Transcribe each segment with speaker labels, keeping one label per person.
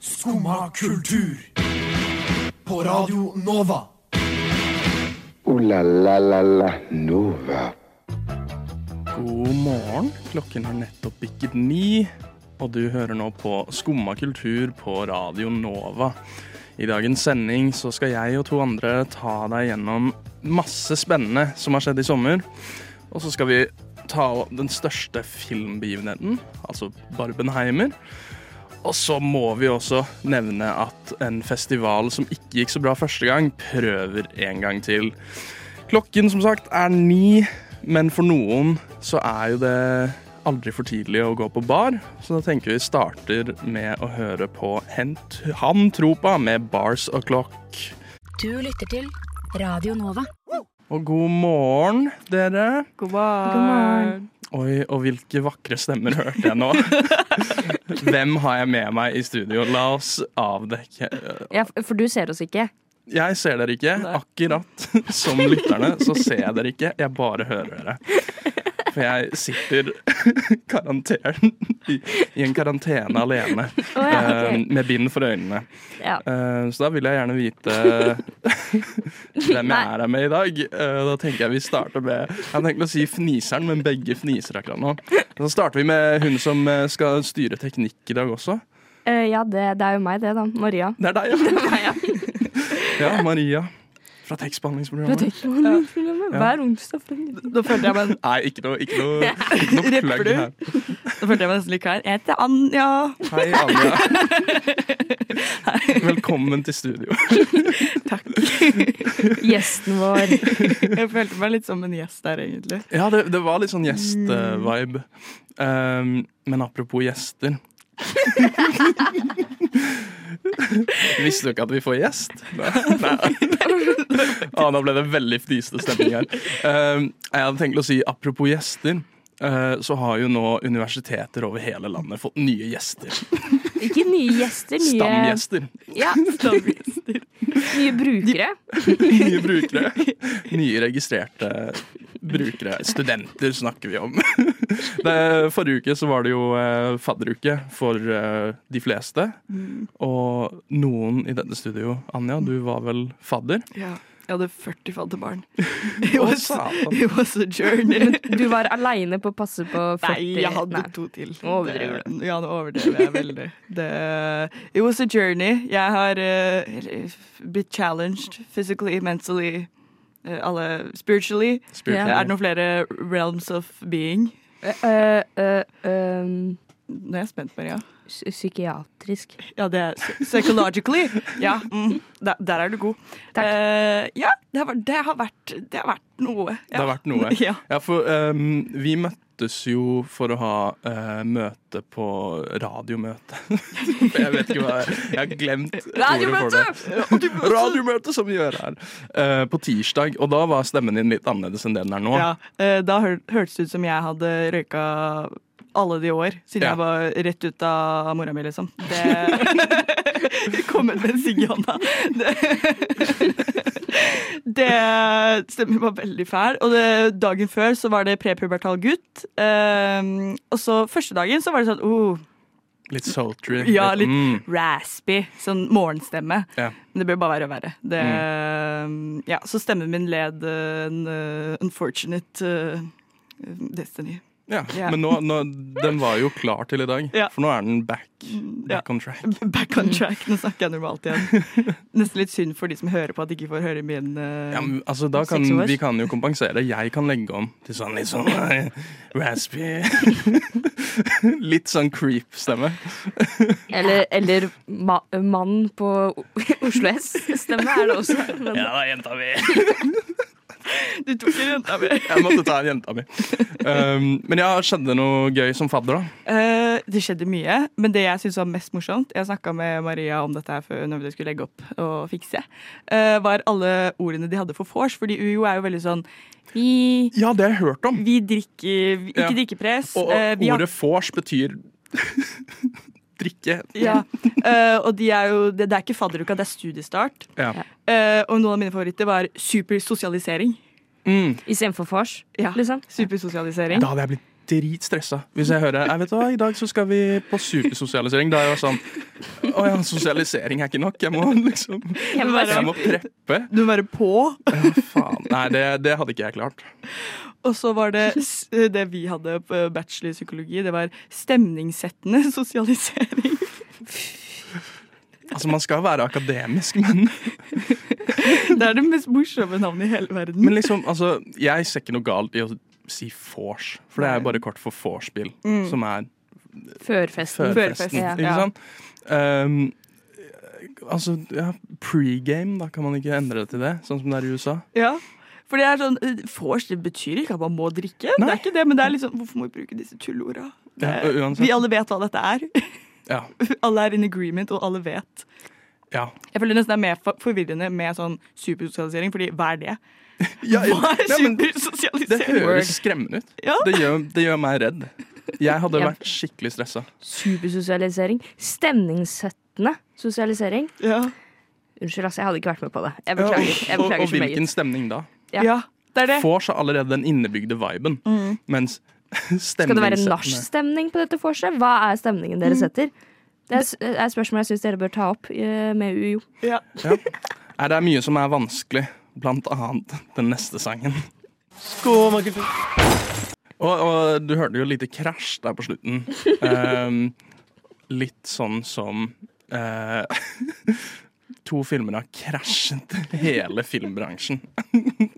Speaker 1: Skumma kultur. På Radio Nova.
Speaker 2: Ooh la la la la Nova.
Speaker 3: God morgen. Klokken har nettopp bikket ni, og du hører nå på Skumma kultur på Radio Nova. I dagens sending så skal jeg og to andre ta deg gjennom masse spennende som har skjedd i sommer. Og så skal vi ta opp den største filmbegivenheten, altså Barbenheimer. Og så må vi også nevne at en festival som ikke gikk så bra første gang, prøver en gang til. Klokken som sagt er ni, men for noen så er jo det aldri for tidlig å gå på bar, så da tenker vi starter med å høre på Hent Han Tropa med Bars O'Clock.
Speaker 4: Du lytter til Radio Nova.
Speaker 3: Og god morgen, dere.
Speaker 5: God morgen.
Speaker 3: Oi, og hvilke vakre stemmer hørte jeg nå. Hvem har jeg med meg i studio? La oss avdekke
Speaker 5: Ja, for du ser oss ikke.
Speaker 3: Jeg ser dere ikke. Akkurat som lytterne så ser jeg dere ikke. Jeg bare hører dere. For jeg sitter karanteren, i, i en karantene alene
Speaker 5: ja,
Speaker 3: eh, med bind for øynene.
Speaker 5: Ja.
Speaker 3: Eh, så da vil jeg gjerne vite hvem jeg
Speaker 5: Nei.
Speaker 3: er her med i dag. Eh, da tenker jeg vi starter med Jeg hadde tenkt å si Fniseren, men begge fniser akkurat nå. Så starter vi med hun som eh, skal styre teknikk i dag også.
Speaker 6: Eh, ja, det, det er jo meg det, da. Maria.
Speaker 3: Det er deg, ja. ja Maria fra tekstbehandlingsprogrammet.
Speaker 6: Hver onsdag fra
Speaker 5: Nå følte jeg meg,
Speaker 3: Nei, ikke noe, ikke noe, ikke noe
Speaker 5: Rapper
Speaker 3: plugg
Speaker 5: du?
Speaker 3: her.
Speaker 5: nå følte jeg meg nesten litt klar. Jeg heter Anja.
Speaker 3: Hei, Anja. Velkommen til studio.
Speaker 5: Takk.
Speaker 6: gjesten vår.
Speaker 5: Jeg følte meg litt som en gjest der, egentlig.
Speaker 3: Ja, det, det var litt sånn gjest-vibe.
Speaker 5: Mm.
Speaker 3: Um, men apropos gjester Visste du ikke at vi får gjest? Nei. Ah, da ble det veldig fnisete stemning her. Um, jeg hadde tenkt å si apropos gjester. eh, Så har jo nå universiteter over hele landet fått nye gjester.
Speaker 6: Ikke nye gjester, nye,
Speaker 3: Stamgjester.
Speaker 6: Ja, nye brukere.
Speaker 3: Nye brukere. Nye registrerte brukere. Studenter snakker vi om. Det, forrige uke så var det jo eh, fadderuke for eh, de fleste. Og noen i dette studio, Anja, du var vel fadder?
Speaker 5: Ja. Jeg hadde 40 fadderbarn. It
Speaker 3: Å,
Speaker 5: was,
Speaker 3: satan.
Speaker 5: it was a journey.
Speaker 6: Du var aleine på å passe på 40
Speaker 5: Nei, jeg hadde
Speaker 6: Nei.
Speaker 5: to til.
Speaker 6: Overdriver
Speaker 5: Det- Ja, nå overdrev jeg veldig. Det, it was a journey. Jeg har eh, eller, blitt challenged physically, mentally, eh, alle spiritually.
Speaker 3: Spurte
Speaker 5: Er
Speaker 3: jeg.
Speaker 5: det noen flere realms of being?
Speaker 6: Eh, eh, ehm,
Speaker 5: Nå er jeg spent, Maria.
Speaker 6: psy- psykiatrisk.
Speaker 5: Ja, det er psy- psychologically. Ja, mm, der, der er du god.
Speaker 6: Takk.
Speaker 5: Eh, ja, det har, vært- det, har vært, det har vært noe. Ja.
Speaker 3: Det har vært noe.
Speaker 5: Ja.
Speaker 3: Ja, for ehm, vi møttes jo for å ha eh, møte på radiomøte. jeg vet ikke hva Jeg har glemt ordet for det. Radiomøte som vi gjør her. eh, på tirsdag, og da var stemmen din litt annerledes enn det den er nå.
Speaker 5: Ja, eh, da hør, hørtes det ut som jeg hadde røyka alle de år, siden
Speaker 3: Ja.
Speaker 5: jeg var rett ut av mora mi, liksom. Det Kommet med en sigg i hånda. Det- Det stemmer var veldig fæl. Og det, dagen før så var det prepubertal gutt. eh, og så første dagen så var det sånn oh,
Speaker 3: Litt sultry.
Speaker 5: Ja, litt
Speaker 3: mm,
Speaker 5: raspy. Sånn morgenstemme.
Speaker 3: ja.
Speaker 5: Men det bør bare være verre. Det,
Speaker 3: Mm.
Speaker 5: ja, så stemmen min led eh, en eh, unfortunate eh, destiny.
Speaker 3: Ja.
Speaker 5: Ja.
Speaker 3: Men nå, nå, den var jo klar til i dag,
Speaker 5: Ja. Mm,
Speaker 3: for nå er den back,
Speaker 5: Ja.
Speaker 3: back on track.
Speaker 5: Back
Speaker 3: Mm.
Speaker 5: on track. Nå snakker jeg normalt igjen. Nesten litt synd for de som hører på at de ikke får høre min eh,
Speaker 3: Ja, men, altså, da kan,
Speaker 5: Seks år.
Speaker 3: vi kan jo kompensere. Jeg kan legge om til sånn litt sånn eh, raspy Litt sånn creep-stemme.
Speaker 6: Eller, eller ma mann på O- Oslo S. Stemme er det også. Men
Speaker 3: Ja, det er jenta mi.
Speaker 5: Du tok ikke jenta mi.
Speaker 3: Jeg måtte ta en jenta mi. Um, men ja, skjedde noe gøy som fadder, da?
Speaker 5: Eh, det skjedde mye, men det jeg syntes var mest morsomt Jeg snakka med Maria om dette her før når vi skulle legge opp og fikse. eh, var alle ordene de hadde for vors, fordi UiO er jo veldig sånn Vi,
Speaker 3: Ja, det har jeg hørt om.
Speaker 5: vi drikker vi, Ikke
Speaker 3: Ja.
Speaker 5: drikkepress.
Speaker 3: Og,
Speaker 5: eh, vi har-
Speaker 3: ordet vors betyr drikke.
Speaker 5: Ja, eh, og de er jo, det, det er ikke fadderuka, det er studiestart.
Speaker 3: Ja.
Speaker 5: Eh, og noen av mine favoritter var supersosialisering.
Speaker 3: Mm.
Speaker 6: Istedenfor vors,
Speaker 5: Ja.
Speaker 6: liksom.
Speaker 5: Supersosialisering.
Speaker 3: Da hadde jeg blitt dritstressa hvis jeg hører jeg vet du hva, i dag så skal vi på supersosialisering. Da er jeg jo sånn Å ja, sosialisering er ikke nok. Jeg må liksom
Speaker 6: Jeg må
Speaker 3: Jeg
Speaker 6: bare,
Speaker 3: må preppe.
Speaker 5: Du må være på.
Speaker 3: Ja, faen. Nei, det, det hadde ikke jeg klart.
Speaker 5: Og så var det s- eh, det vi hadde på bachelor i psykologi. Det var stemningssettende sosialisering.
Speaker 3: Altså, Man skal være akademisk, men,
Speaker 5: Det er det mest morsomme navnet i hele verden.
Speaker 3: men liksom, altså, jeg ser ikke noe galt i å si vors. For det er jo bare kort for vorspiel,
Speaker 5: Mm.
Speaker 3: som er førfesten.
Speaker 6: førfesten.
Speaker 5: Førfesten,
Speaker 3: Ikke
Speaker 5: ja.
Speaker 3: sant? Ehm, altså, ja, pregame, da kan man ikke endre det til det, sånn som det er i USA.
Speaker 5: Ja. For det er sånn, eh, Vors det betyr ikke at man må drikke, det
Speaker 3: Nei.
Speaker 5: er ikke det, men det er liksom, hvorfor må vi bruke disse tullorda? Det
Speaker 3: Ja,
Speaker 5: er-
Speaker 3: uansett.
Speaker 5: vi alle vet hva dette er.
Speaker 3: Ja,
Speaker 5: Alle er in agreement, og alle vet.
Speaker 3: ja.
Speaker 5: Jeg føler nesten det er mer for- forvirrende med sånn supersosialisering, fordi hva er det?
Speaker 3: ja, ja,
Speaker 5: Hva er
Speaker 3: ja men, det
Speaker 5: supersosialisering?
Speaker 3: høres skremmende ut.
Speaker 5: Ja.
Speaker 3: Det gjør, det gjør meg redd. Jeg hadde
Speaker 6: Ja.
Speaker 3: vært skikkelig stressa.
Speaker 6: Supersosialisering. Stemningssettende sosialisering.
Speaker 5: Ja.
Speaker 6: Unnskyld, altså, jeg hadde ikke vært med på det. Jeg
Speaker 3: og,
Speaker 6: beklager, jeg
Speaker 3: og,
Speaker 6: beklager
Speaker 3: og
Speaker 6: så meget.
Speaker 3: hvilken stemning da?
Speaker 6: Ja. Mm.
Speaker 5: ja, det er det.
Speaker 3: Vors har allerede den innebygde viben, mens
Speaker 6: Skal det være
Speaker 3: stemningssettende
Speaker 6: nachstemning på dette vorset? Hva er stemningen dere
Speaker 3: Mm.
Speaker 6: setter? Det er s- er et spørsmål jeg syns dere bør ta opp eh, med UiO.
Speaker 5: Ja.
Speaker 3: Nei, Det er mye som er vanskelig, blant annet den neste sangen. Og, og du hørte jo et lite krasj der på slutten. Ehm, litt sånn som eh, To filmer har krasjet hele filmbransjen. Det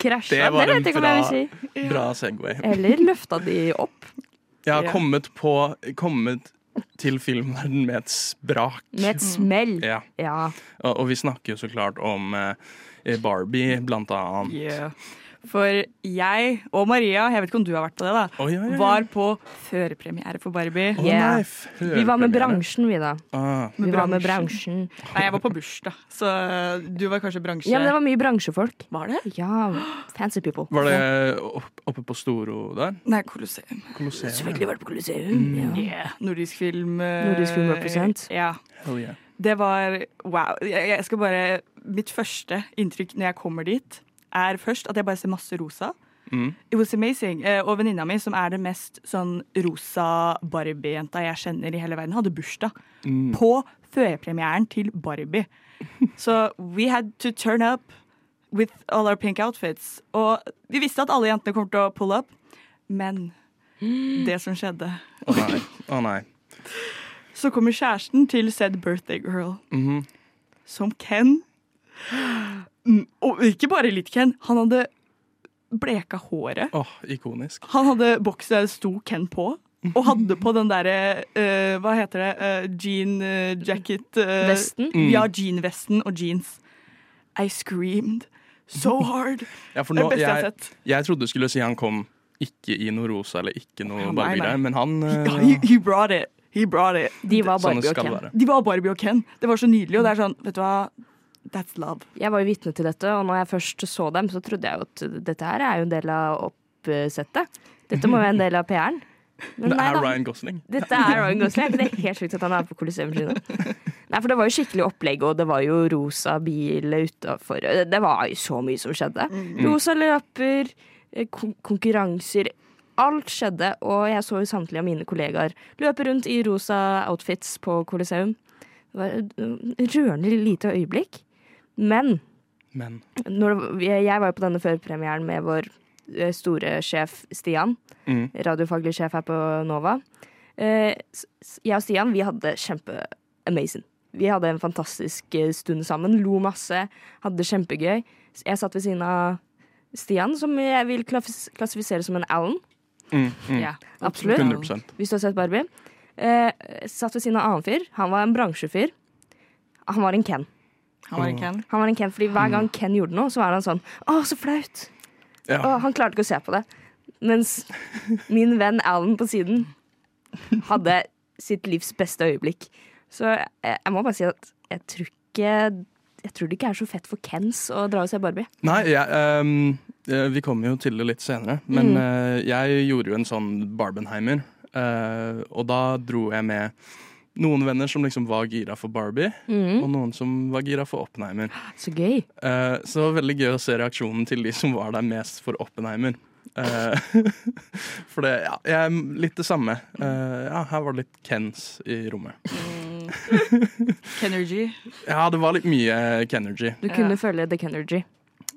Speaker 6: Krasja, det,
Speaker 3: var en
Speaker 6: vet jeg ikke om jeg vil si.
Speaker 3: Bra Segway.
Speaker 6: Eller løfta de opp
Speaker 3: Jeg har
Speaker 5: Ja.
Speaker 3: kommet, på, kommet til filmverden med et sprak.
Speaker 6: med et smell.
Speaker 3: Ja.
Speaker 6: Ja.
Speaker 3: Og, og vi snakker jo så klart om eh, Barbie, blant annet.
Speaker 5: Yeah. For jeg og Maria, jeg vet ikke om du har vært på det, da,
Speaker 3: Å, ja, ja, ja.
Speaker 5: var på førpremiere for Barbie.
Speaker 3: Å,
Speaker 6: Yeah.
Speaker 3: nei, f-
Speaker 6: Vi var med
Speaker 3: hørepremiere.
Speaker 6: bransjen, vi, da.
Speaker 3: Ah.
Speaker 6: Vi var med bransjen.
Speaker 5: Nei, jeg var på bursdag, så du var kanskje bransje...
Speaker 6: Ja, men det var mye bransjefolk.
Speaker 5: Var det?
Speaker 6: Ja, fancy people.
Speaker 3: Var det opp, oppe på Storo der?
Speaker 5: Nei, Colosseum.
Speaker 3: Kolosseum?
Speaker 6: Selvfølgelig var det på Colosseum.
Speaker 3: Mm.
Speaker 6: Ja.
Speaker 5: Yeah. Nordisk film. eh,
Speaker 6: Nordisk film represent.
Speaker 5: Ja.
Speaker 3: Hell Oh, yeah.
Speaker 5: Det var wow. Jeg jeg skal bare Mitt første inntrykk når jeg kommer dit, er først at jeg bare ser masse rosa. It was amazing. Eh, Og venninna mi, som er den mest sånn rosa Barbie-jenta jeg kjenner i hele verden, hadde bursdag på førpremieren til Barbie. Så we had to turn up with all our pink outfits. Og vi visste at alle jentene kom til å pull up, men det som skjedde
Speaker 3: Å nei. Å nei.
Speaker 5: så kommer kjæresten til said birthday girl.
Speaker 3: Mhm.
Speaker 5: Som Ken. Mm, Og ikke bare litt Ken. Han hadde bleka håret.
Speaker 3: Åh, ikonisk.
Speaker 5: Han hadde bokset det sto Ken på. Og hadde på den derre eh, Hva heter det? eh, jean eh, jacket eh,
Speaker 6: Vesten?
Speaker 3: Mm.
Speaker 5: Ja, jeanvesten og jeans. I screamed so hard.
Speaker 3: Ja, for
Speaker 5: Det
Speaker 3: nå,
Speaker 5: beste jeg har
Speaker 3: jeg,
Speaker 5: sett.
Speaker 3: jeg trodde du skulle si han kom ikke i noe rosa eller ikke noe
Speaker 5: Ah, Nei, nei.
Speaker 3: Barbie-greier, men han
Speaker 5: Ja,
Speaker 3: eh,
Speaker 5: he, he brought it. He brought it.
Speaker 6: De var
Speaker 3: Sånn det
Speaker 6: Barbie og
Speaker 3: skal
Speaker 6: Ken.
Speaker 3: være.
Speaker 5: De var Barbie og Ken. Det var så nydelig. Og det er sånn, vet du hva? That's love.
Speaker 6: Jeg var jo vitne til dette, og når jeg først så dem, så trodde jeg jo at dette her er jo en del av oppsettet. Dette må være en del av PR-en. Men
Speaker 3: Det
Speaker 6: nei
Speaker 3: er
Speaker 6: da.
Speaker 3: Ryan Gosling.
Speaker 6: Dette er Ryan Gosling. Det er helt sjukt at han er på Colosseum Kino. Nei, for det var jo skikkelig opplegg, og det var jo rosa bil utafor. Det var jo så mye som skjedde. Rosa løper, eh, kon konkurranser. Alt skjedde, og jeg så jo samtlige av mine kollegaer løpe rundt i rosa outfits på Colosseum. Det var et eh, rørende lite øyeblikk. Men
Speaker 3: Men
Speaker 6: når det, var- jeg jeg var jo på denne førpremieren med vår eh, store sjef Stian.
Speaker 3: Mm.
Speaker 6: Radiofaglig sjef her på Nova. Eh, s- s- Jeg og Stian vi hadde kjempe-amazing. Vi hadde en fantastisk eh, stund sammen. Lo masse, hadde det kjempegøy. S- Jeg satt ved siden av Stian, som jeg vil klass- klassifisere som en Alan.
Speaker 3: mm, mm,
Speaker 5: Ja,
Speaker 6: Absolutt.
Speaker 3: 100
Speaker 6: Hvis du har sett Barbie. Eh, Satt ved siden av en annen fyr. Han var en bransjefyr. Han var en Ken.
Speaker 5: Han var en Ken.
Speaker 6: Han var en Ken, fordi Hver gang Ken gjorde noe, så var han sånn Å, så flaut!
Speaker 3: Ja.
Speaker 6: Og han klarte ikke å se på det. Mens min venn Alan på siden hadde sitt livs beste øyeblikk. Så jeg, jeg må bare si at jeg tror ikke Jeg tror det ikke er så fett for Kens å dra og se Barbie.
Speaker 3: Nei, jeg, ehm, eh, vi kommer jo til det litt senere, men
Speaker 5: Mm.
Speaker 3: eh, jeg gjorde jo en sånn Barbenheimer. eh, og da dro jeg med noen venner som liksom var gira for Barbie,
Speaker 5: Mm.
Speaker 3: og noen som var gira for Oppenheimer.
Speaker 6: Så gøy.
Speaker 3: Eh, så det var veldig gøy å se reaksjonen til de som var der mest for Oppenheimer. Eh, for det ja, jeg er litt det samme. Eh, ja, her var det litt Kens i rommet.
Speaker 5: Kenergy.
Speaker 3: Ja, det var litt mye Kenergy.
Speaker 6: Du kunne følge The Kennergy.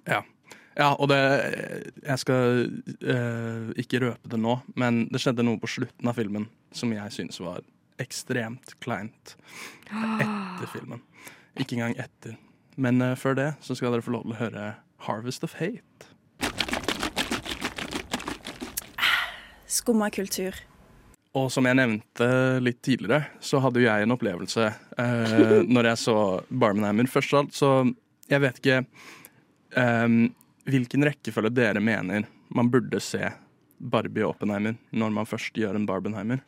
Speaker 3: Ja. ja, og det Jeg skal eh, ikke røpe det nå, men det skjedde noe på slutten av filmen som jeg synes var ekstremt kleint. Etter filmen. Ikke engang etter. Men eh, før det så skal dere få lov til å høre Harvest of Hate.
Speaker 7: Skumma kultur.
Speaker 3: Og som jeg nevnte litt tidligere, så hadde jo jeg en opplevelse eh, når jeg så Barmenheimer. Først av alt, så jeg vet ikke eh, hvilken rekkefølge dere mener man burde se Barbie og Oppenheimer når man først gjør en Barbenheimer.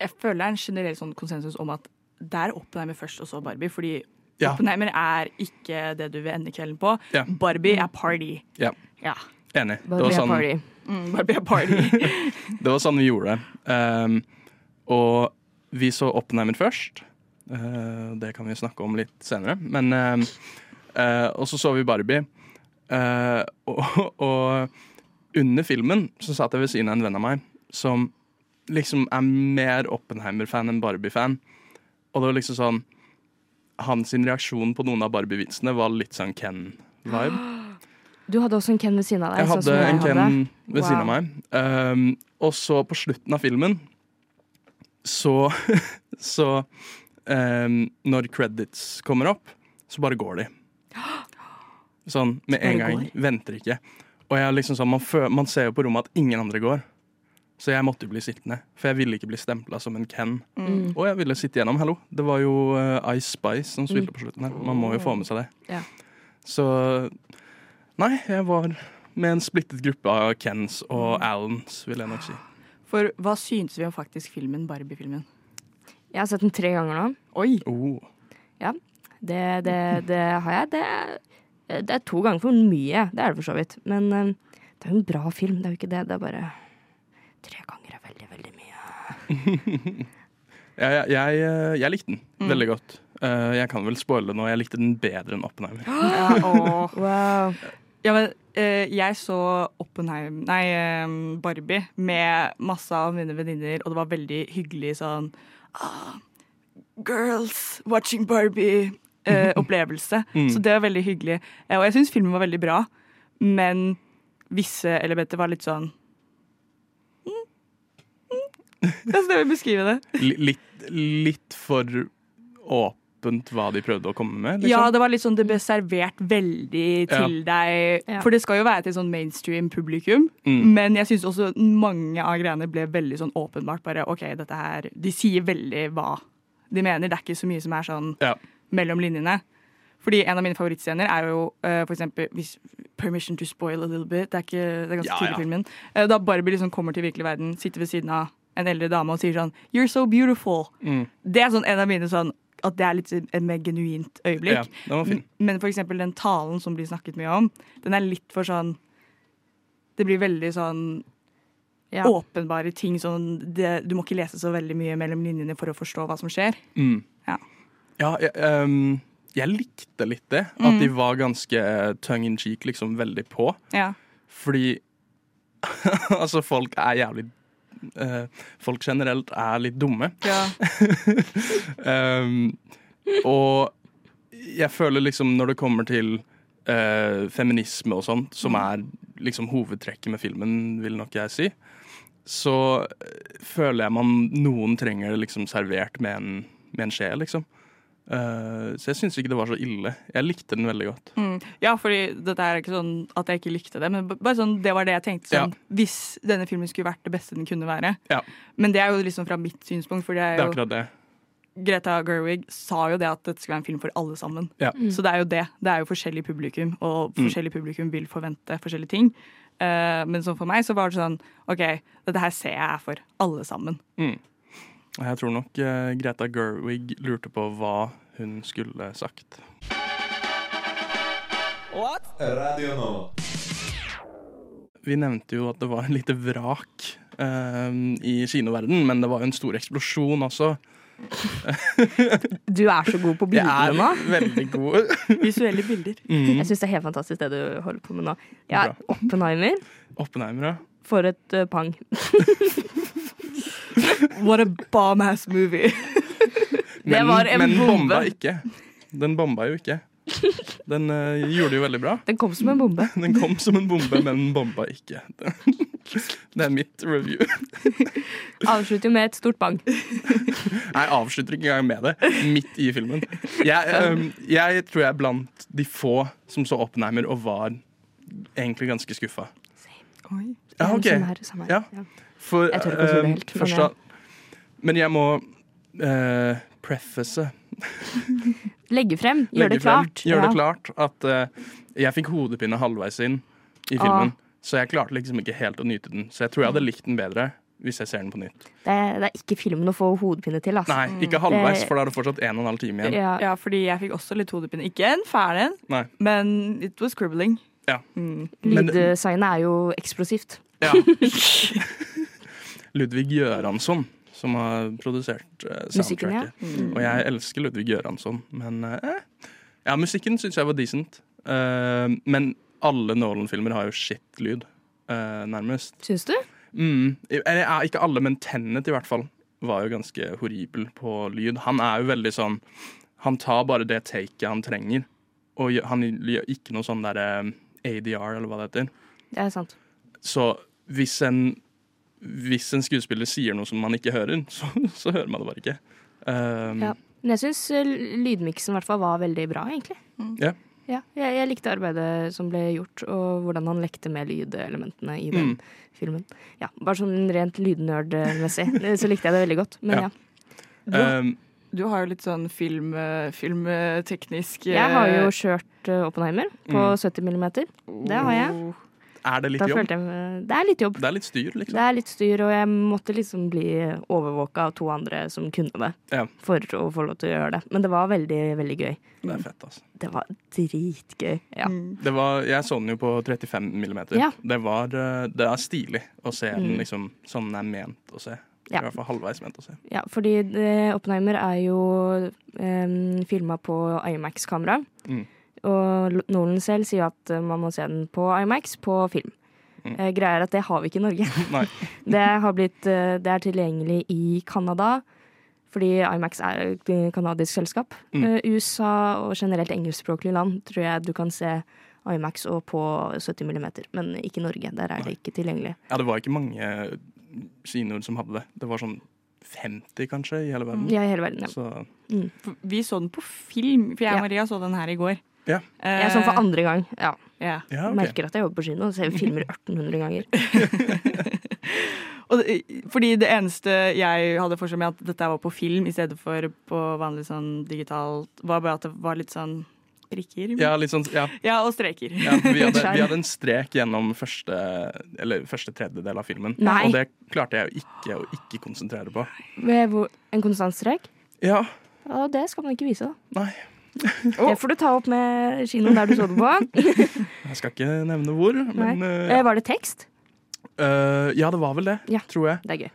Speaker 5: Jeg føler det er en generell sånn konsensus om at der Oppenheimer først, og så Barbie. Fordi
Speaker 3: Ja.
Speaker 5: Oppenheimer er ikke det du vil ende kvelden på.
Speaker 3: Ja.
Speaker 5: Barbie er party.
Speaker 3: Ja,
Speaker 5: Ja.
Speaker 3: enig. Det
Speaker 6: Barbie
Speaker 3: var,
Speaker 6: er
Speaker 3: sånn,
Speaker 6: party.
Speaker 5: Mm, Barbie er party.
Speaker 3: det var sånn vi gjorde det. Eh, og vi så Oppenheimer først. Eh, det kan vi snakke om litt senere. Men eh, eh, Og så så vi Barbie. Eh, og, og under filmen så satt jeg ved siden av en venn av meg som liksom er mer Oppenheimer-fan enn Barbie-fan. Og det var liksom sånn Hans sin reaksjon på noen av Barbie-vitsene var litt sånn Ken-vibe.
Speaker 6: Du hadde også en Ken ved siden av deg.
Speaker 3: Jeg
Speaker 6: sånn som
Speaker 3: hadde en Ken
Speaker 6: hadde.
Speaker 3: ved siden av
Speaker 6: Wow.
Speaker 3: meg. Um, og så på slutten av filmen så, så um, Når credits kommer opp, så bare går de. Sånn med
Speaker 5: bare
Speaker 3: en gang.
Speaker 5: går?
Speaker 3: Venter ikke. Og jeg er liksom sånn, man, fø- man ser jo på rommet at ingen andre går. Så jeg måtte jo bli sittende, for jeg ville ikke bli stempla som en Ken. Og jeg ville sitte gjennom, hallo. Det var jo eh, Ice Spice som spilte på slutten her. Man må jo få med seg det.
Speaker 6: Ja.
Speaker 3: Så Nei, jeg var med en splittet gruppe av Kens
Speaker 5: Mm.
Speaker 3: og Alans, vil jeg nok si.
Speaker 5: For hva syntes vi om faktisk filmen, Barbie-filmen?
Speaker 6: Jeg har sett den tre ganger nå.
Speaker 5: Oi!
Speaker 3: Oh.
Speaker 6: Det, det, det har jeg. Det er, det er to ganger for mye. Det er det for så vidt. Men eh, det er jo en bra film. Det er jo ikke det. Det er bare Tre ganger er veldig, veldig mye.
Speaker 3: Jeg, jeg, jeg, eh, jeg likte den
Speaker 5: Mm.
Speaker 3: veldig godt. Eh, jeg kan vel spoile nå, jeg likte den bedre enn Oppenheimer.
Speaker 5: Ja, åh.
Speaker 6: Wow.
Speaker 5: Ja, men eh, jeg så Oppenheim Nei, eh, Barbie med masse av mine venninner, og det var veldig hyggelig sånn ah, Girls watching Barbie-opplevelse. Så det var veldig hyggelig. Eh, og jeg syns filmen var veldig bra, men visse elementer var litt sånn mm, mm. Det er sånn jeg vil beskrive det.
Speaker 3: Li- Litt, litt for åpent hva de prøvde å komme med,
Speaker 5: Ja,
Speaker 3: liksom.
Speaker 5: det var litt sånn det ble servert veldig til deg.
Speaker 6: Ja.
Speaker 5: For det skal jo være til sånn mainstream publikum.
Speaker 3: Mm.
Speaker 5: Men jeg syns også mange av greiene ble veldig sånn åpenbart bare OK, dette her De sier veldig hva de mener. Det er ikke så mye som er sånn
Speaker 3: Ja.
Speaker 5: mellom linjene. Fordi en av mine favorittscener er jo eh, for eksempel hvis, 'Permission to spoil a little bit'. Det er, ikke, det er ganske
Speaker 3: Ja,
Speaker 5: tidlig
Speaker 3: ja.
Speaker 5: i filmen. Eh, da Barbie liksom kommer til virkelig verden, sitter ved siden av en eldre dame og sier sånn 'You're so beautiful'.
Speaker 3: Mm.
Speaker 5: Det er sånn en av mine sånn at det er litt et mer genuint øyeblikk.
Speaker 3: Ja, den var fin.
Speaker 5: Men for eksempel den talen som blir snakket mye om, den er litt for sånn Det blir veldig sånn
Speaker 6: Ja.
Speaker 5: åpenbare ting. Sånn, det, du må ikke lese så veldig mye mellom linjene for å forstå hva som skjer.
Speaker 3: Mm.
Speaker 5: Ja.
Speaker 3: Ja, jeg, ehm, jeg likte litt det.
Speaker 5: Mm.
Speaker 3: At de var ganske tongue in cheek, liksom veldig på.
Speaker 5: Ja.
Speaker 3: Fordi altså, folk er jævlig eh, Folk generelt er litt dumme.
Speaker 5: ja.
Speaker 3: Ehm, og jeg føler liksom når det kommer til eh, feminisme og sånt, som
Speaker 5: Mm.
Speaker 3: er liksom hovedtrekket med filmen, vil nok jeg si, så eh, føler jeg man noen trenger det liksom servert med en, med en skje, liksom. Eh, så jeg syns ikke det var så ille. Jeg likte den veldig godt.
Speaker 5: Mm. Ja, fordi dette er ikke sånn at jeg ikke likte det, men b- bare sånn, det var det jeg tenkte. Sånn, Hvis denne filmen skulle vært det beste den kunne være.
Speaker 3: Ja.
Speaker 5: Men det er jo liksom fra mitt synspunkt, for det
Speaker 3: Det
Speaker 5: er
Speaker 3: er
Speaker 5: jo,
Speaker 3: akkurat det.
Speaker 5: Greta Gerwig sa jo det at dette skulle være en film for alle sammen.
Speaker 3: Ja. Mm.
Speaker 5: Så det er jo det. Det er jo forskjellig publikum, og forskjellig publikum vil forvente forskjellige ting. Eh, men sånn for meg så var det sånn OK, dette her ser jeg er for alle sammen.
Speaker 3: Mm. Og Jeg tror nok eh, Greta Gerwig lurte på hva hun skulle sagt. Vi nevnte jo at det var et lite vrak eh, i kinoverden, men det var jo en stor eksplosjon også.
Speaker 6: Du er så god på
Speaker 3: Jeg
Speaker 6: bilder nå.
Speaker 3: er
Speaker 6: Mm.
Speaker 3: Mm. veldig god.
Speaker 5: Visuelle bilder.
Speaker 6: Jeg syns det er helt fantastisk det du holder på med nå. Ja, Oppenheimer.
Speaker 3: Oppenheimer, ja.
Speaker 6: For et eh, pang.
Speaker 5: What a bomb ass movie.
Speaker 6: Det
Speaker 3: Men,
Speaker 6: var en
Speaker 3: men bomba
Speaker 6: bombe.
Speaker 3: ikke. Den bomba jo ikke. Den eh, gjorde det jo veldig bra.
Speaker 6: Den kom som en bombe.
Speaker 3: Den kom som en bombe, men den bomba ikke. Det er mitt review.
Speaker 6: Avslutter jo med et stort bang.
Speaker 3: Jeg avslutter ikke engang med det, midt i filmen. Jeg, øhm, jeg tror jeg er blant de få som så Oppenheimer og var egentlig ganske skuffa.
Speaker 5: Oi.
Speaker 3: Ja, ok.
Speaker 6: Samme sånn her, samme her.
Speaker 3: Ja. For,
Speaker 6: Jeg tør ikke å tro det
Speaker 3: øhm,
Speaker 6: helt, men
Speaker 3: først
Speaker 6: jeg-
Speaker 3: da- Men jeg må øh, preface
Speaker 6: Legge frem. Gjør
Speaker 3: legge
Speaker 6: det
Speaker 3: frem-
Speaker 6: klart.
Speaker 3: Gjør det
Speaker 6: Ja.
Speaker 3: klart at øh, jeg fikk hodepine halvveis inn i filmen. Så jeg klarte liksom ikke helt å nyte den. Så jeg tror jeg
Speaker 6: Mm.
Speaker 3: hadde likt den bedre hvis jeg ser den på nytt.
Speaker 6: Det, er, det er ikke filmen å få hodepine til. Altså.
Speaker 3: Nei, ikke halvveis, for da er det fortsatt en og en halv time igjen.
Speaker 6: Ja.
Speaker 5: Ja, fordi jeg fikk også litt hodepine. Ikke en fæl en,
Speaker 3: Nei.
Speaker 5: men it was cribbling.
Speaker 3: Ja.
Speaker 5: Mm.
Speaker 3: Men-
Speaker 6: Lyddesignet er jo eksplosivt.
Speaker 3: Ja. Ludvig Göransson, som har produsert eh,
Speaker 6: Musikken, ja. Mm.
Speaker 3: soundtracket. Og jeg elsker Ludvig Göransson, men eh, Ja, musikken syns jeg var decent. Eh, men alle Nolan-filmer har jo shit-lyd, eh, nærmest.
Speaker 6: Syns du?
Speaker 3: Mm. Eller ja, ikke alle, men Tennet i hvert fall var jo ganske horribel på lyd. Han er jo veldig sånn Han tar bare det taket han trenger, og gjør- han gjør ikke noe sånn derre ADR, eller hva det heter.
Speaker 6: Det er sant.
Speaker 3: Så hvis en, hvis en skuespiller sier noe som man ikke hører, så, så hører man det bare ikke. Um,
Speaker 6: Ja. Men jeg syns eh, lydmiksen i hvert fall var veldig bra, egentlig.
Speaker 3: Ja.
Speaker 6: Ja, jeg, jeg likte arbeidet som ble gjort, og hvordan han lekte med lydelementene i
Speaker 3: Mm.
Speaker 6: den filmen. Ja, bare sånn rent lydnerdmessig, så likte jeg det veldig godt. Men
Speaker 3: Ja.
Speaker 6: ja.
Speaker 3: um,
Speaker 5: Du har jo litt sånn film, eh, filmteknisk eh,
Speaker 6: Jeg har jo kjørt eh, Oppenheimer på 70 millimeter. Det har jeg.
Speaker 3: er det
Speaker 6: Da
Speaker 3: Mm. litt jobb?
Speaker 6: følte jeg meg- Det er litt jobb.
Speaker 3: Det er litt styr, liksom.
Speaker 6: Det er litt styr, og jeg måtte liksom bli overvåka av to andre som kunne det.
Speaker 3: Ja.
Speaker 6: For å få lov til å gjøre det. Men det var veldig, veldig gøy.
Speaker 3: Det er fett, altså.
Speaker 6: Det var dritgøy. Ja.
Speaker 3: Det var, jeg så den jo på 35 millimeter.
Speaker 6: Ja. Mm.
Speaker 3: Det, var, uh, det er stilig å se den liksom sånn den er ment å se.
Speaker 6: Ja.
Speaker 3: I hvert fall halvveis ment å se.
Speaker 6: ja, fordi eh, Oppenheimer er jo um, filma på IMAX-kamera.
Speaker 3: Mm.
Speaker 6: Og L- Nolan selv sier at eh, man må se den på IMAX på film. Eh, Greia er at det har vi ikke i Norge.
Speaker 3: Mm. Nei.
Speaker 6: Det, har blitt, eh, det er tilgjengelig i Canada, fordi Imax er et kanadisk selskap.
Speaker 3: Mm.
Speaker 6: Eh, USA og generelt engelskspråklige land tror jeg du kan se Imax og på 70 mm, men ikke Norge. Der er det ikke tilgjengelig.
Speaker 3: Ja, det var ikke mange kinoer som hadde det. Det var sånn 50, kanskje, i hele verden.
Speaker 6: Ja, i hele verden. Mm. Ja.
Speaker 3: Så
Speaker 5: f- Vi så den på film, for jeg
Speaker 6: Ja.
Speaker 5: og Maria så den her i går.
Speaker 3: ja.
Speaker 5: Eh,
Speaker 6: Jeg er sånn for andre gang. Ja.
Speaker 5: ja.
Speaker 3: ja ok.
Speaker 6: Merker at jeg jobber på kino og ser filmer 1800 ganger.
Speaker 5: Og, det- fordi det eneste jeg hadde for seg med at dette var på film i stedet for på vanlig sånn digitalt, var bare at det var litt sånn prikker.
Speaker 3: Ja, litt sånn, ja.
Speaker 5: Ja, og streker.
Speaker 3: Ja, vi, hadde, vi hadde en strek gjennom første, eller første tredjedel av filmen.
Speaker 6: Nei.
Speaker 3: Og det klarte jeg jo ikke å ikke konsentrere på.
Speaker 6: Ved hvor- En konstant strek?
Speaker 3: Ja,
Speaker 6: Ja, det skal man ikke vise, da.
Speaker 3: nei.
Speaker 6: Det får du ta opp med kinoen der du så det på.
Speaker 3: Jeg skal ikke nevne hvor,
Speaker 6: Nei.
Speaker 3: men øh,
Speaker 6: Eh, Var det tekst?
Speaker 3: øh, Ja, det var vel det,
Speaker 6: Ja.
Speaker 3: tror jeg.
Speaker 6: Det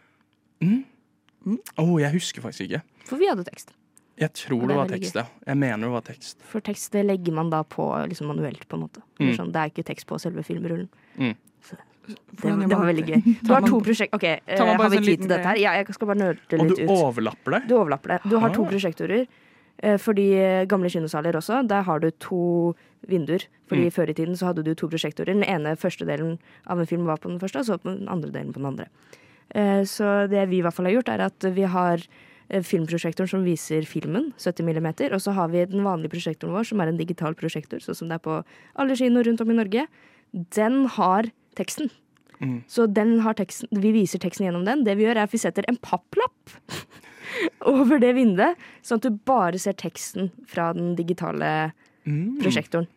Speaker 6: er gøy.
Speaker 3: Å, jeg husker faktisk ikke.
Speaker 6: For vi hadde tekst.
Speaker 3: Jeg tror
Speaker 6: Og det
Speaker 3: det
Speaker 6: er
Speaker 3: var
Speaker 6: veldig
Speaker 3: tekst, ja. Jeg mener det var tekst.
Speaker 6: For tekst det legger man da på liksom manuelt, på en måte.
Speaker 5: Mm.
Speaker 6: Eller Sånn, det er ikke tekst på selve filmrullen.
Speaker 3: Mm.
Speaker 6: Så det,
Speaker 5: Hvordan gjør
Speaker 6: det var
Speaker 5: man
Speaker 6: veldig gøy.
Speaker 5: det?
Speaker 6: Du har
Speaker 5: man-
Speaker 6: to prosjekt... OK, eh,
Speaker 5: tar man bare
Speaker 6: har vi
Speaker 5: sånn
Speaker 6: tid
Speaker 5: liten
Speaker 6: til dette her? Ja, jeg skal bare nøle
Speaker 3: Og
Speaker 6: litt
Speaker 3: du
Speaker 6: ut.
Speaker 3: overlapper det.
Speaker 6: Du overlapper det. Du har to
Speaker 3: Ah.
Speaker 6: prosjektorer. eh, For de gamle kinosaler også, der har du to vinduer. Fordi Før i tiden så hadde du to prosjektorer. Den ene første delen av en film var på den første, og så på den andre delen på den andre. Eh, Så det vi i hvert fall har gjort, er at vi har eh, filmprosjektoren som viser filmen, 70 mm, og så har vi den vanlige prosjektoren vår, som er en digital prosjektor, sånn som det er på alle kinoer rundt om i Norge. Den har teksten. Så den har teksten, vi viser teksten gjennom den. Det vi gjør, er at vi setter en papplapp over det vinduet, sånn at du bare ser teksten fra den digitale prosjektoren.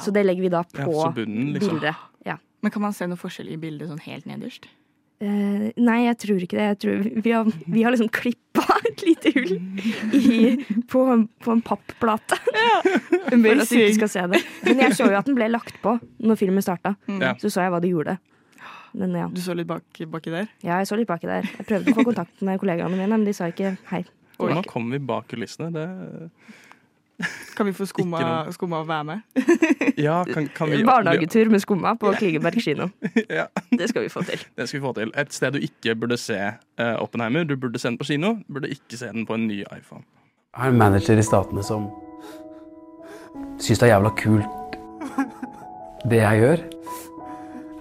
Speaker 6: Så det legger vi da på
Speaker 3: Mm. Ja, så bunnen, liksom.
Speaker 6: bildet. Ja.
Speaker 5: Men kan man se noe forskjell i bildet sånn helt nederst?
Speaker 6: Eh, nei, jeg tror ikke det. Jeg tror vi, har, vi har liksom klippa et lite hull i, på, en- på en papplate. For at du ikke skal se det. Men jeg så jo at den ble lagt på når filmen starta.
Speaker 3: Ja.
Speaker 6: Så så jeg hva det gjorde. Men ja.
Speaker 5: Du så litt bak, baki der?
Speaker 6: ja, jeg så litt baki der. Jeg prøvde å få kontakt med kollegaene mine, men de sa ikke hei.
Speaker 5: Oi.
Speaker 3: Nå kom vi bak kulissene. Det...
Speaker 5: Kan vi få skumma,
Speaker 3: Ikke
Speaker 5: skumma være med?
Speaker 3: Ja, kan, kan vi
Speaker 6: Barnehagetur med skumma på Kligeberg kino.
Speaker 3: Ja.
Speaker 6: Det skal vi få til.
Speaker 3: Det skal vi få til. Et sted du ikke burde se eh, Oppenheimer. Du burde se den på kino. Du burde ikke se den på en ny iPhone.
Speaker 8: Jeg er en manager i Statene som syns det er jævla kult, det jeg gjør.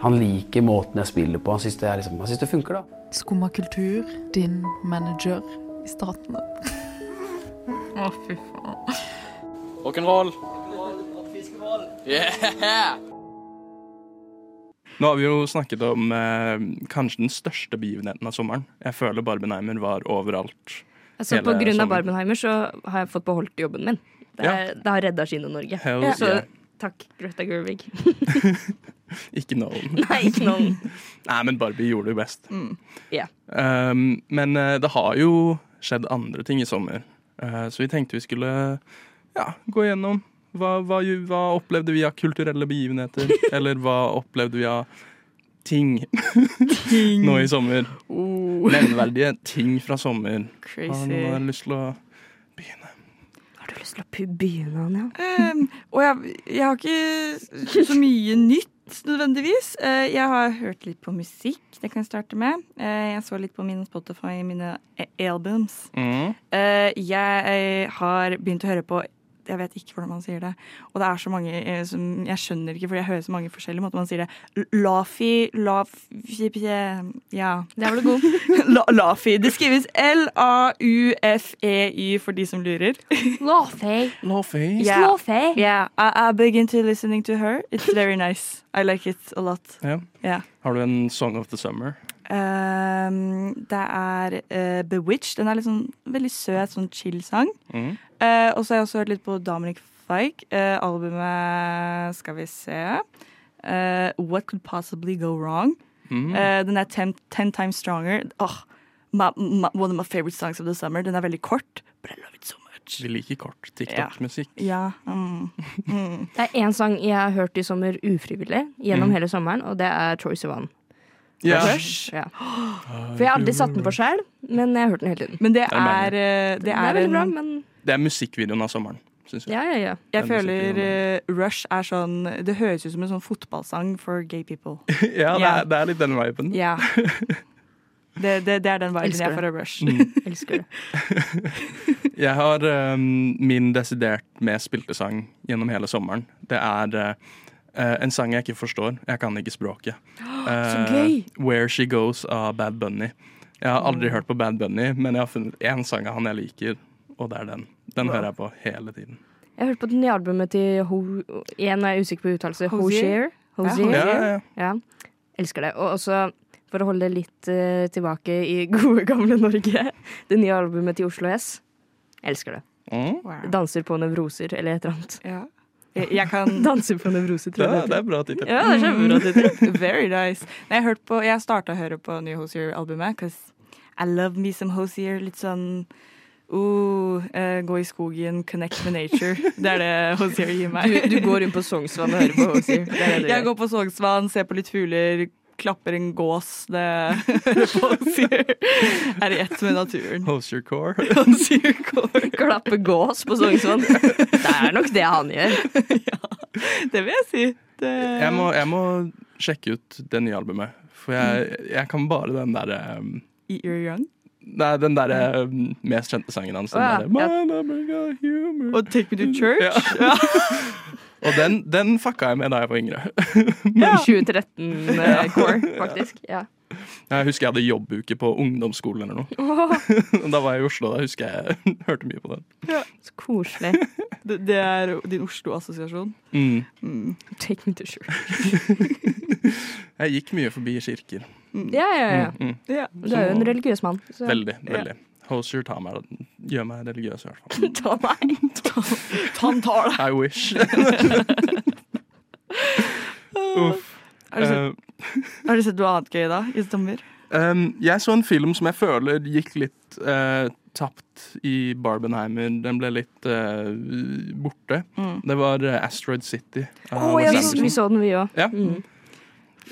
Speaker 8: Han liker måten jeg spiller på. Han syns det, er liksom, han synes det funker, da.
Speaker 9: Skumma kultur, din manager i staten.
Speaker 5: Å, fy faen.
Speaker 3: Rock'n'roll. Nå har vi jo snakket om eh, kanskje den største begivenheten av sommeren. Jeg føler Barbenheimer var overalt.
Speaker 6: Altså, på
Speaker 3: Hele
Speaker 6: grunn av
Speaker 3: sommeren.
Speaker 6: Barbenheimer så har jeg fått beholdt jobben min. Det, er, det har redda Kino-Norge.
Speaker 3: Hell
Speaker 6: Så
Speaker 3: yeah.
Speaker 6: takk, Greta Gerwig.
Speaker 3: Ikke noen.
Speaker 6: Nei, ikke noen.
Speaker 3: Nei, men Barbie gjorde det jo best.
Speaker 6: Ja.
Speaker 3: Um, men eh, det har jo skjedd andre ting i sommer, Eh, så vi tenkte vi skulle ja, gå gjennom. Hva, hva, ju- hva opplevde vi av kulturelle begivenheter? Eller hva opplevde vi av ting, nå i sommer?
Speaker 5: Oh,
Speaker 3: Nevneverdige ting fra sommer. Har
Speaker 5: crazy.
Speaker 3: noen lyst til å
Speaker 6: Har du lyst til å pu- begynne, Anja?
Speaker 5: Um, og jeg, jeg har ikke så mye nytt nødvendigvis. Eh, jeg har hørt litt på musikk, det kan jeg starte med. Eh, jeg så litt på min Spotify, mine e- albums.
Speaker 3: mm.
Speaker 5: Eh, jeg eh, har begynt å høre på jeg vet ikke hvordan man sier det. Og det er så mange eh, som Jeg skjønner ikke, fordi jeg hører så mange forskjellige måter man sier det. L- Lafi, lafi Ja.
Speaker 6: Der var du god.
Speaker 5: La, lafi. Det skrives L-A-U-F-E-Y E for de som lurer.
Speaker 6: Låfei.
Speaker 3: Lovey.
Speaker 5: Ja. Yeah, I, I begin to listening to her. It's very nice. I like it a lot.
Speaker 3: Ja.
Speaker 5: Yeah.
Speaker 3: Har du en Song of the Summer?
Speaker 5: Um, det er eh, Bewitched. Den er litt sånn veldig søt, sånn chill sang.
Speaker 3: Mhm.
Speaker 5: Eh, og så har jeg også hørt litt på Dominic Fike. Eh, albumet Skal vi se eh, What Could Possibly Go Wrong.
Speaker 3: Mm.
Speaker 5: Eh, den er ten, ten Times Stronger. Åh, my, my, one of my favorite songs of the summer. Den er veldig kort, but I love it so much.
Speaker 3: Vi liker kort TikTok-musikk.
Speaker 5: Ja, mm.
Speaker 6: Det er én sang jeg har hørt i sommer ufrivillig
Speaker 3: Mm.
Speaker 6: gjennom hele sommeren, og det er Troye Sivan.
Speaker 3: Ja.
Speaker 6: Ja.
Speaker 3: Ah,
Speaker 6: For jeg har aldri satt den på sjøl, men jeg har hørt den hele tiden.
Speaker 5: Men det
Speaker 3: er mange.
Speaker 5: er, eh, det
Speaker 6: Det
Speaker 5: er
Speaker 6: er veldig bra,
Speaker 5: en-
Speaker 6: men
Speaker 3: Det er musikkvideoen av sommeren, syns jeg.
Speaker 6: ja, ja, ja.
Speaker 3: Den
Speaker 5: Jeg
Speaker 3: musikken
Speaker 5: føler eh, Rush er sånn Det høres ut som en sånn fotballsang for gay people.
Speaker 3: Ja, det
Speaker 5: Ja.
Speaker 3: er, det er litt den viben.
Speaker 5: Ja. Det, det, det er den viben
Speaker 6: Elsker
Speaker 5: jeg
Speaker 6: det.
Speaker 5: får av Rush.
Speaker 6: Elsker det.
Speaker 3: Jeg har eh, min desidert mest spilte sang gjennom hele sommeren. Det er eh, en sang jeg ikke forstår. Jeg kan ikke språket.
Speaker 6: Så
Speaker 3: Eh,
Speaker 6: gøy! Mm.
Speaker 3: 'Where She Goes' av Bad Bunny. Jeg har aldri hørt på Bad Bunny, men jeg har funnet én sang av han jeg liker, og det er den. Den hører jeg på hele tiden.
Speaker 6: Jeg hørte på det nye albumet til Ho... Igjen er jeg usikker på uttalelse.
Speaker 5: Hozier?
Speaker 6: Hozier.
Speaker 5: Ja,
Speaker 6: Hozier.
Speaker 3: Ja, ja, ja.
Speaker 6: Ja. Elsker det. Og også, for å holde det litt eh, tilbake i gode, gamle Norge, det nye albumet til Oslo S. Elsker det.
Speaker 3: Mm.
Speaker 6: Danser på nevroser, eller et eller annet.
Speaker 5: Ja. Jeg, jeg kan
Speaker 6: Danser på nevroser,
Speaker 3: Det,
Speaker 6: tror
Speaker 3: det
Speaker 6: jeg det heter.
Speaker 3: er bra tittel.
Speaker 6: Ja, det er kjempebra tittel.
Speaker 5: Very nice. Nei, Jeg, hørte på- jeg starta å høre på New Hosier-albumet, because I love me some Hosier. Litt sånn oh, eh, gå i skogen, connect with nature. Det er det Hosier gir meg.
Speaker 6: Du, du går rundt på Sognsvann og hører på Hozier. Det er det du
Speaker 5: Jeg
Speaker 6: gjør.
Speaker 5: går på Sognsvann, ser på litt fugler, klapper en gås. Det hører på og sier. Er i ett med naturen.
Speaker 3: Hose your core.
Speaker 5: Og sier kår.
Speaker 6: Klappe gås på Sognsvann. Det er nok det han gjør.
Speaker 5: Det vil jeg si. Det...
Speaker 3: Jeg må,
Speaker 6: Eh.
Speaker 3: jeg må sjekke ut det nye albumet, for jeg,
Speaker 6: Mm.
Speaker 3: jeg kan bare den derre
Speaker 5: Eat your young.
Speaker 3: Nei, den derre mest kjente sangen hans. Den
Speaker 6: Å, ja.
Speaker 3: derre Man, I'm a guy, humor.
Speaker 5: Og Take Me To Church.
Speaker 3: Ja. Og den, den fucka jeg med da jeg var yngre.
Speaker 6: 2013-core, eh, faktisk. Ja.
Speaker 3: Jeg husker jeg hadde jobbuke på ungdomsskolen eller noe.
Speaker 6: Åh,
Speaker 3: Da var jeg i Oslo, da husker jeg hørte mye på den.
Speaker 6: så koselig.
Speaker 5: Det, det er din Oslo-assosiasjon.
Speaker 3: Mm.
Speaker 6: Take me to sure.
Speaker 3: Jeg gikk mye forbi kirker.
Speaker 6: Ja, ja, ja.
Speaker 3: Mm.
Speaker 5: Ja.
Speaker 6: Du er jo en religiøs mann. Så.
Speaker 3: Veldig. veldig. Hosier tar meg, gjør meg religiøs, i hvert fall.
Speaker 6: Ta meg.
Speaker 5: Tann tar deg.
Speaker 3: I wish. Uff.
Speaker 5: Har du sett-
Speaker 3: Eh,
Speaker 5: har du sett noe annet gøy da? I sommer?
Speaker 3: Um, jeg så en film som jeg føler gikk litt eh, tapt i Barbenheimer. Den ble litt eh, borte. Det var eh, Asteroid City. av
Speaker 5: Å,
Speaker 3: Wes
Speaker 5: jeg
Speaker 6: Vi,
Speaker 5: så-
Speaker 3: Anderson.
Speaker 6: vi så den, vi òg.
Speaker 3: Ja.
Speaker 6: Mm.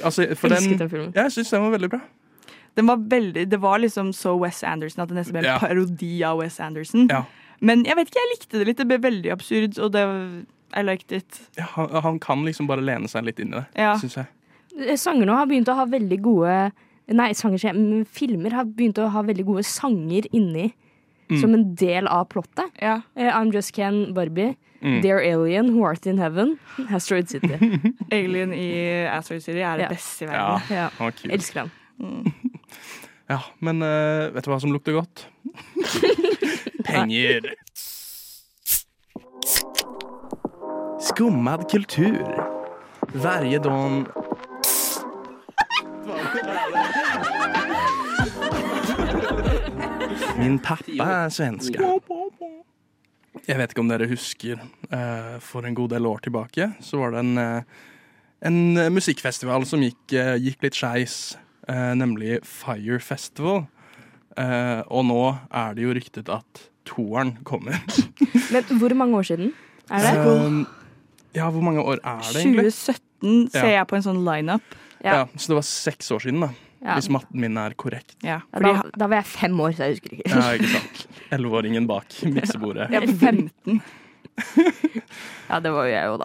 Speaker 3: Altså, for
Speaker 6: Elsket
Speaker 3: den,
Speaker 6: den filmen.
Speaker 3: ja, jeg syns den var veldig bra.
Speaker 5: Den var veldig, det var liksom så Wes Anderson at det nesten ble en
Speaker 3: Ja.
Speaker 5: parodi av Wes Anderson.
Speaker 3: Ja.
Speaker 5: Men jeg vet ikke, jeg likte det litt. Det ble veldig absurd, og det, I liked it.
Speaker 3: Ja, han, han kan liksom bare lene seg litt inn i det,
Speaker 5: Ja.
Speaker 3: syns jeg.
Speaker 6: Sanger nå Eh, har begynt å ha veldig gode Nei, sanger, sier jeg, men filmer har begynt å ha veldig gode sanger inni
Speaker 3: Mm.
Speaker 6: som en del av plottet.
Speaker 5: Ja.
Speaker 6: Eh, I'm Just Ken Barbie,
Speaker 3: Mm.
Speaker 6: Dear Alien, Who Art In Heaven, Asteroid City.
Speaker 5: Alien i Asteroid City er det
Speaker 6: Ja.
Speaker 5: beste i
Speaker 3: Ja,
Speaker 5: verden.
Speaker 6: Ja.
Speaker 3: han var cute.
Speaker 6: Elsker han.
Speaker 3: Ja, men eh, vet du hva som lukter godt? Penger. Skummad kultur. Varje dag Min pappa er svenske. Jeg vet ikke om dere husker, eh, for en god del år tilbake så var det en, eh, en eh, musikkfestival som gikk, eh, gikk litt skeis, eh, nemlig Fire Festival. Eh, og nå er det jo ryktet at toeren kommer.
Speaker 6: Men hvor mange år siden er det?
Speaker 3: Eh, ja, hvor mange år er det egentlig?
Speaker 5: 2017 ser
Speaker 3: Ja.
Speaker 5: jeg på en sånn lineup.
Speaker 3: Ja.
Speaker 6: Ja.
Speaker 3: så det var seks år siden, da.
Speaker 6: Ja.
Speaker 3: Hvis matten min er korrekt.
Speaker 5: Ja,
Speaker 6: Ja,
Speaker 5: fordi
Speaker 6: Da, da var jeg fem år, så jeg husker ikke.
Speaker 3: Ja, ikke sant. Elleveåringen bak miksebordet.
Speaker 5: jeg var 15.
Speaker 6: Ja, det var jo jeg jo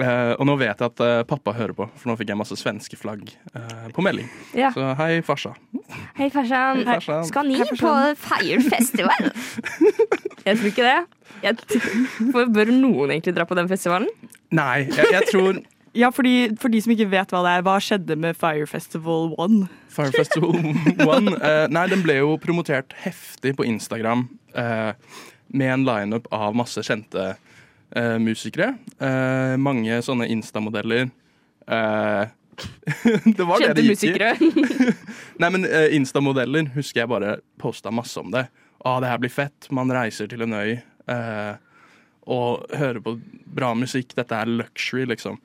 Speaker 6: da.
Speaker 3: Eh, og nå vet jeg at eh, pappa hører på, for nå fikk jeg masse svenske flagg eh, på melding.
Speaker 6: Ja.
Speaker 3: Så hei, farsa.
Speaker 6: Hei, farsan.
Speaker 3: Hei, farsan.
Speaker 6: Skal ni på Fire Festival? Jeg tror ikke det. Jeg t for bør noen egentlig dra på den festivalen?
Speaker 3: Nei, jeg, jeg tror
Speaker 5: Ja, fordi, for de som ikke vet hva det er, hva skjedde med Fire Festival 1?
Speaker 3: Fire Festival 1 eh, Nei, den ble jo promotert heftig på Instagram eh, med en lineup av masse kjente eh, musikere. Eh, mange sånne Insta-modeller. Eh, det var det
Speaker 6: Kjente
Speaker 3: det gikk i.
Speaker 6: musikere.
Speaker 3: Nei, men eh, Insta-modeller husker jeg bare posta masse om det. Å, det her blir fett. Man reiser til en øy eh, og hører på bra musikk. Dette er luxury, liksom.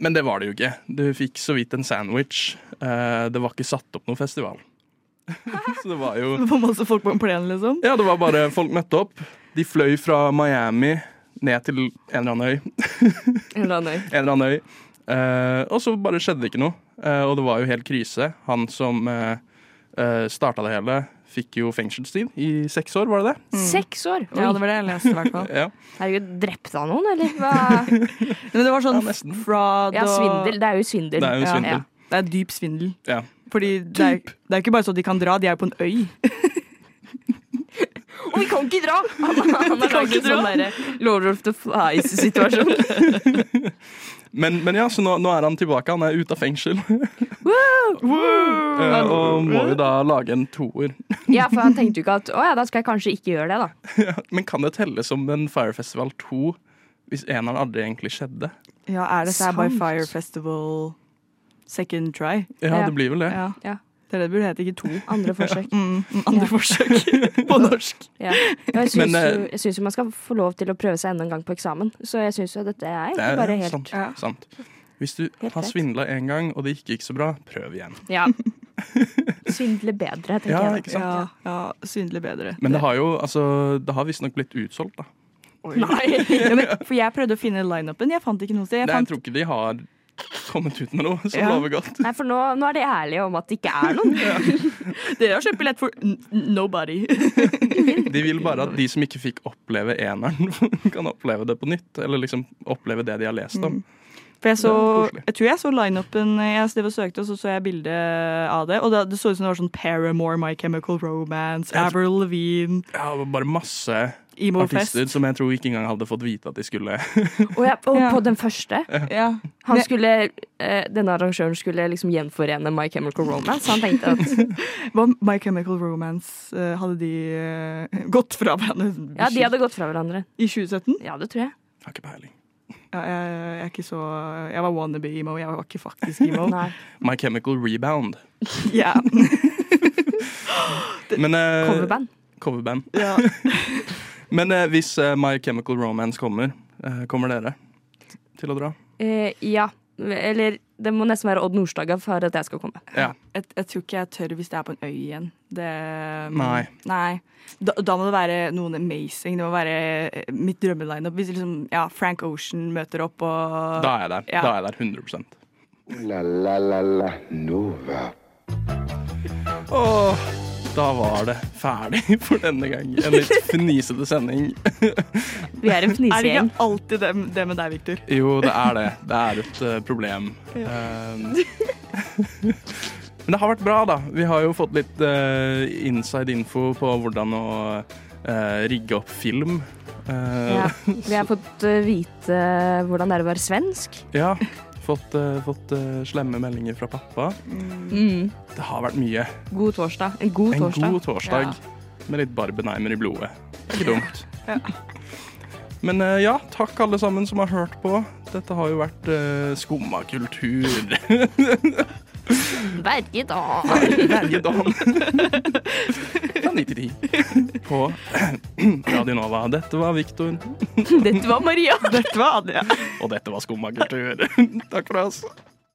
Speaker 3: Men det var det jo ikke. Du fikk så vidt en sandwich. Eh, det var ikke satt opp noen festival. så det var jo
Speaker 5: På masse folk på en plen, liksom.
Speaker 3: Ja, det var bare folk møtte opp. De fløy fra Miami ned til en eller annen øy.
Speaker 6: En eller annen øy.
Speaker 3: en eller annen øy. Eh, og så bare skjedde det ikke noe. Eh, og det var jo helt krise. Han som uh, starta det hele, fikk jo fengselstid i seks år, var det det?
Speaker 6: Seks år? Oi.
Speaker 5: Ja, det var det jeg leste, i hvert fall.
Speaker 3: Ja.
Speaker 6: Herregud, drepte han noen, eller? Hva?
Speaker 5: Men det var sånn
Speaker 3: Ja, nesten.
Speaker 5: fraud
Speaker 6: Ja,
Speaker 5: og
Speaker 6: svindel. Det er jo svindel.
Speaker 3: Det er jo
Speaker 5: Ja.
Speaker 3: svindel.
Speaker 5: Det er dyp svindel.
Speaker 3: Ja.
Speaker 5: Fordi det er, det er ikke bare sånn de kan dra, de er jo på en øy.
Speaker 6: Og vi kan ikke dra! Han, han har laget en sånn derre Lord of the Flies-situasjon.
Speaker 3: Men, men ja, så nå, nå er han tilbake. Han er ute av fengsel. Eh,
Speaker 6: Ah.
Speaker 3: og må jo da lage en toer.
Speaker 6: Ja, for han tenkte jo ikke at å ja, da skal jeg kanskje ikke gjøre det, da.
Speaker 3: Men kan det telle som en Fire Festival 2 hvis eneren aldri egentlig skjedde?
Speaker 5: Ja, er det Sad by
Speaker 6: Sant.
Speaker 5: Fire Festival second try?
Speaker 3: Ja,
Speaker 6: Ja.
Speaker 3: det blir vel det.
Speaker 5: Ja.
Speaker 6: Ja.
Speaker 5: Det er det det burde hete, ikke to.
Speaker 6: Andre forsøk.
Speaker 5: Mm, mm, andre forsøk på norsk.
Speaker 6: Ja. Og Jeg syns
Speaker 3: Men, eh,
Speaker 6: jo- jeg syns jo man skal få lov til å prøve seg enda en gang på eksamen, så jeg syns jo dette er
Speaker 3: Det
Speaker 6: egentlig
Speaker 3: er
Speaker 6: bare helt
Speaker 3: sant.
Speaker 5: Ja.
Speaker 3: sant. Hvis du
Speaker 6: Helt
Speaker 3: har
Speaker 6: rett.
Speaker 3: svindla én gang, og det gikk ikke så bra, prøv igjen.
Speaker 6: Ja. Svindle bedre, tenker
Speaker 3: Ja,
Speaker 6: jeg.
Speaker 3: ikke sant?
Speaker 5: Ja, ja, svindle bedre.
Speaker 3: Men det har jo altså, det har visstnok blitt utsolgt, da.
Speaker 6: Nei.
Speaker 5: Ja, men, for jeg prøvde å finne lineupen, jeg fant ikke noe sted. Jeg
Speaker 3: Nei, jeg
Speaker 5: fant,
Speaker 3: tror ikke de har kommet ut med noe som
Speaker 5: Ja.
Speaker 3: lover godt.
Speaker 6: Nei, for nå, nå er de ærlige om at det ikke er noen.
Speaker 5: dere har kjøpt billett for n- n- nobody.
Speaker 3: De vil bare at de som ikke fikk oppleve eneren, kan oppleve det på nytt. Eller liksom oppleve det de har lest om.
Speaker 5: For jeg, så,
Speaker 3: Det er koselig.
Speaker 5: jeg tror jeg så lineupen eh, jeg stedet og søkte, og så så jeg bilde av det. Og da, det så ut som det var sånn Paramore, My Chemical Romance,
Speaker 3: Ja,
Speaker 5: Avril Lavigne,
Speaker 3: Ja, og bare masse
Speaker 5: Emo-fest.
Speaker 3: artister som jeg tror ikke engang hadde fått vite at de skulle
Speaker 6: Og, jeg, og
Speaker 5: Ja.
Speaker 6: på den første
Speaker 5: Ja.
Speaker 6: han skulle, eh, Denne arrangøren skulle liksom gjenforene My Chemical Romance. Han tenkte at
Speaker 5: Hva om My Chemical Romance eh, hadde de eh, gått fra hverandre
Speaker 6: ja, de hadde gått fra hverandre.
Speaker 5: i 2017?
Speaker 6: Ja, det tror jeg.
Speaker 3: Har ikke peiling.
Speaker 5: Ja, jeg, jeg er ikke så Jeg var wannabe-emo, jeg var ikke faktisk emo.
Speaker 6: Nei.
Speaker 3: My Chemical Rebound.
Speaker 5: Ja.
Speaker 3: Men, eh,
Speaker 6: Coverband.
Speaker 3: coverband.
Speaker 5: ja.
Speaker 3: Men eh, hvis eh, My Chemical Romance kommer, eh, kommer dere til å dra?
Speaker 6: Eh, ja. Eller det må nesten være Odd Nordstoga for at jeg skal komme.
Speaker 3: Ja.
Speaker 5: Jeg, jeg tror ikke jeg tør hvis det er på en øy igjen. Det, um,
Speaker 3: Nei.
Speaker 5: Nei. Da, da må det være noen amazing. Det må være eh, mitt drømmelineup. Hvis liksom, ja, Frank Ocean møter opp og
Speaker 3: Da er jeg der.
Speaker 5: Ja.
Speaker 3: Da er jeg der
Speaker 2: Ooh
Speaker 3: 100
Speaker 2: la la la la Nova.
Speaker 3: Åh, da var det ferdig for denne gang. En litt fnisete sending.
Speaker 6: Vi er en
Speaker 5: Er det
Speaker 6: fnisegjeng.
Speaker 5: ikke alltid det, det med deg, Victor?
Speaker 3: Jo, det er det. Det er et eh, problem. Eh, Ehm. Men det har vært bra, da. Vi har jo fått litt eh, inside info på hvordan å eh, rigge opp film. Eh,
Speaker 6: Ja. Vi har fått eh, vite hvordan det er å være svensk.
Speaker 3: ja. Fått, eh, fått eh, slemme meldinger fra pappa. Det har vært mye.
Speaker 6: God torsdag. En god
Speaker 3: En
Speaker 6: torsdag.
Speaker 3: god torsdag med litt barbenheimer i blodet. Det er ikke dumt. Men eh, ja, takk alle sammen som har hørt på. Dette har jo vært uh, skumma kultur
Speaker 6: Verket, ah. da.
Speaker 3: hver dag. Fra 9 til 10 på Radio Nova. Dette var Viktor,
Speaker 6: Dette var Maria.
Speaker 5: Dette var Adria.
Speaker 3: og dette var skumma kultur. Takk for oss.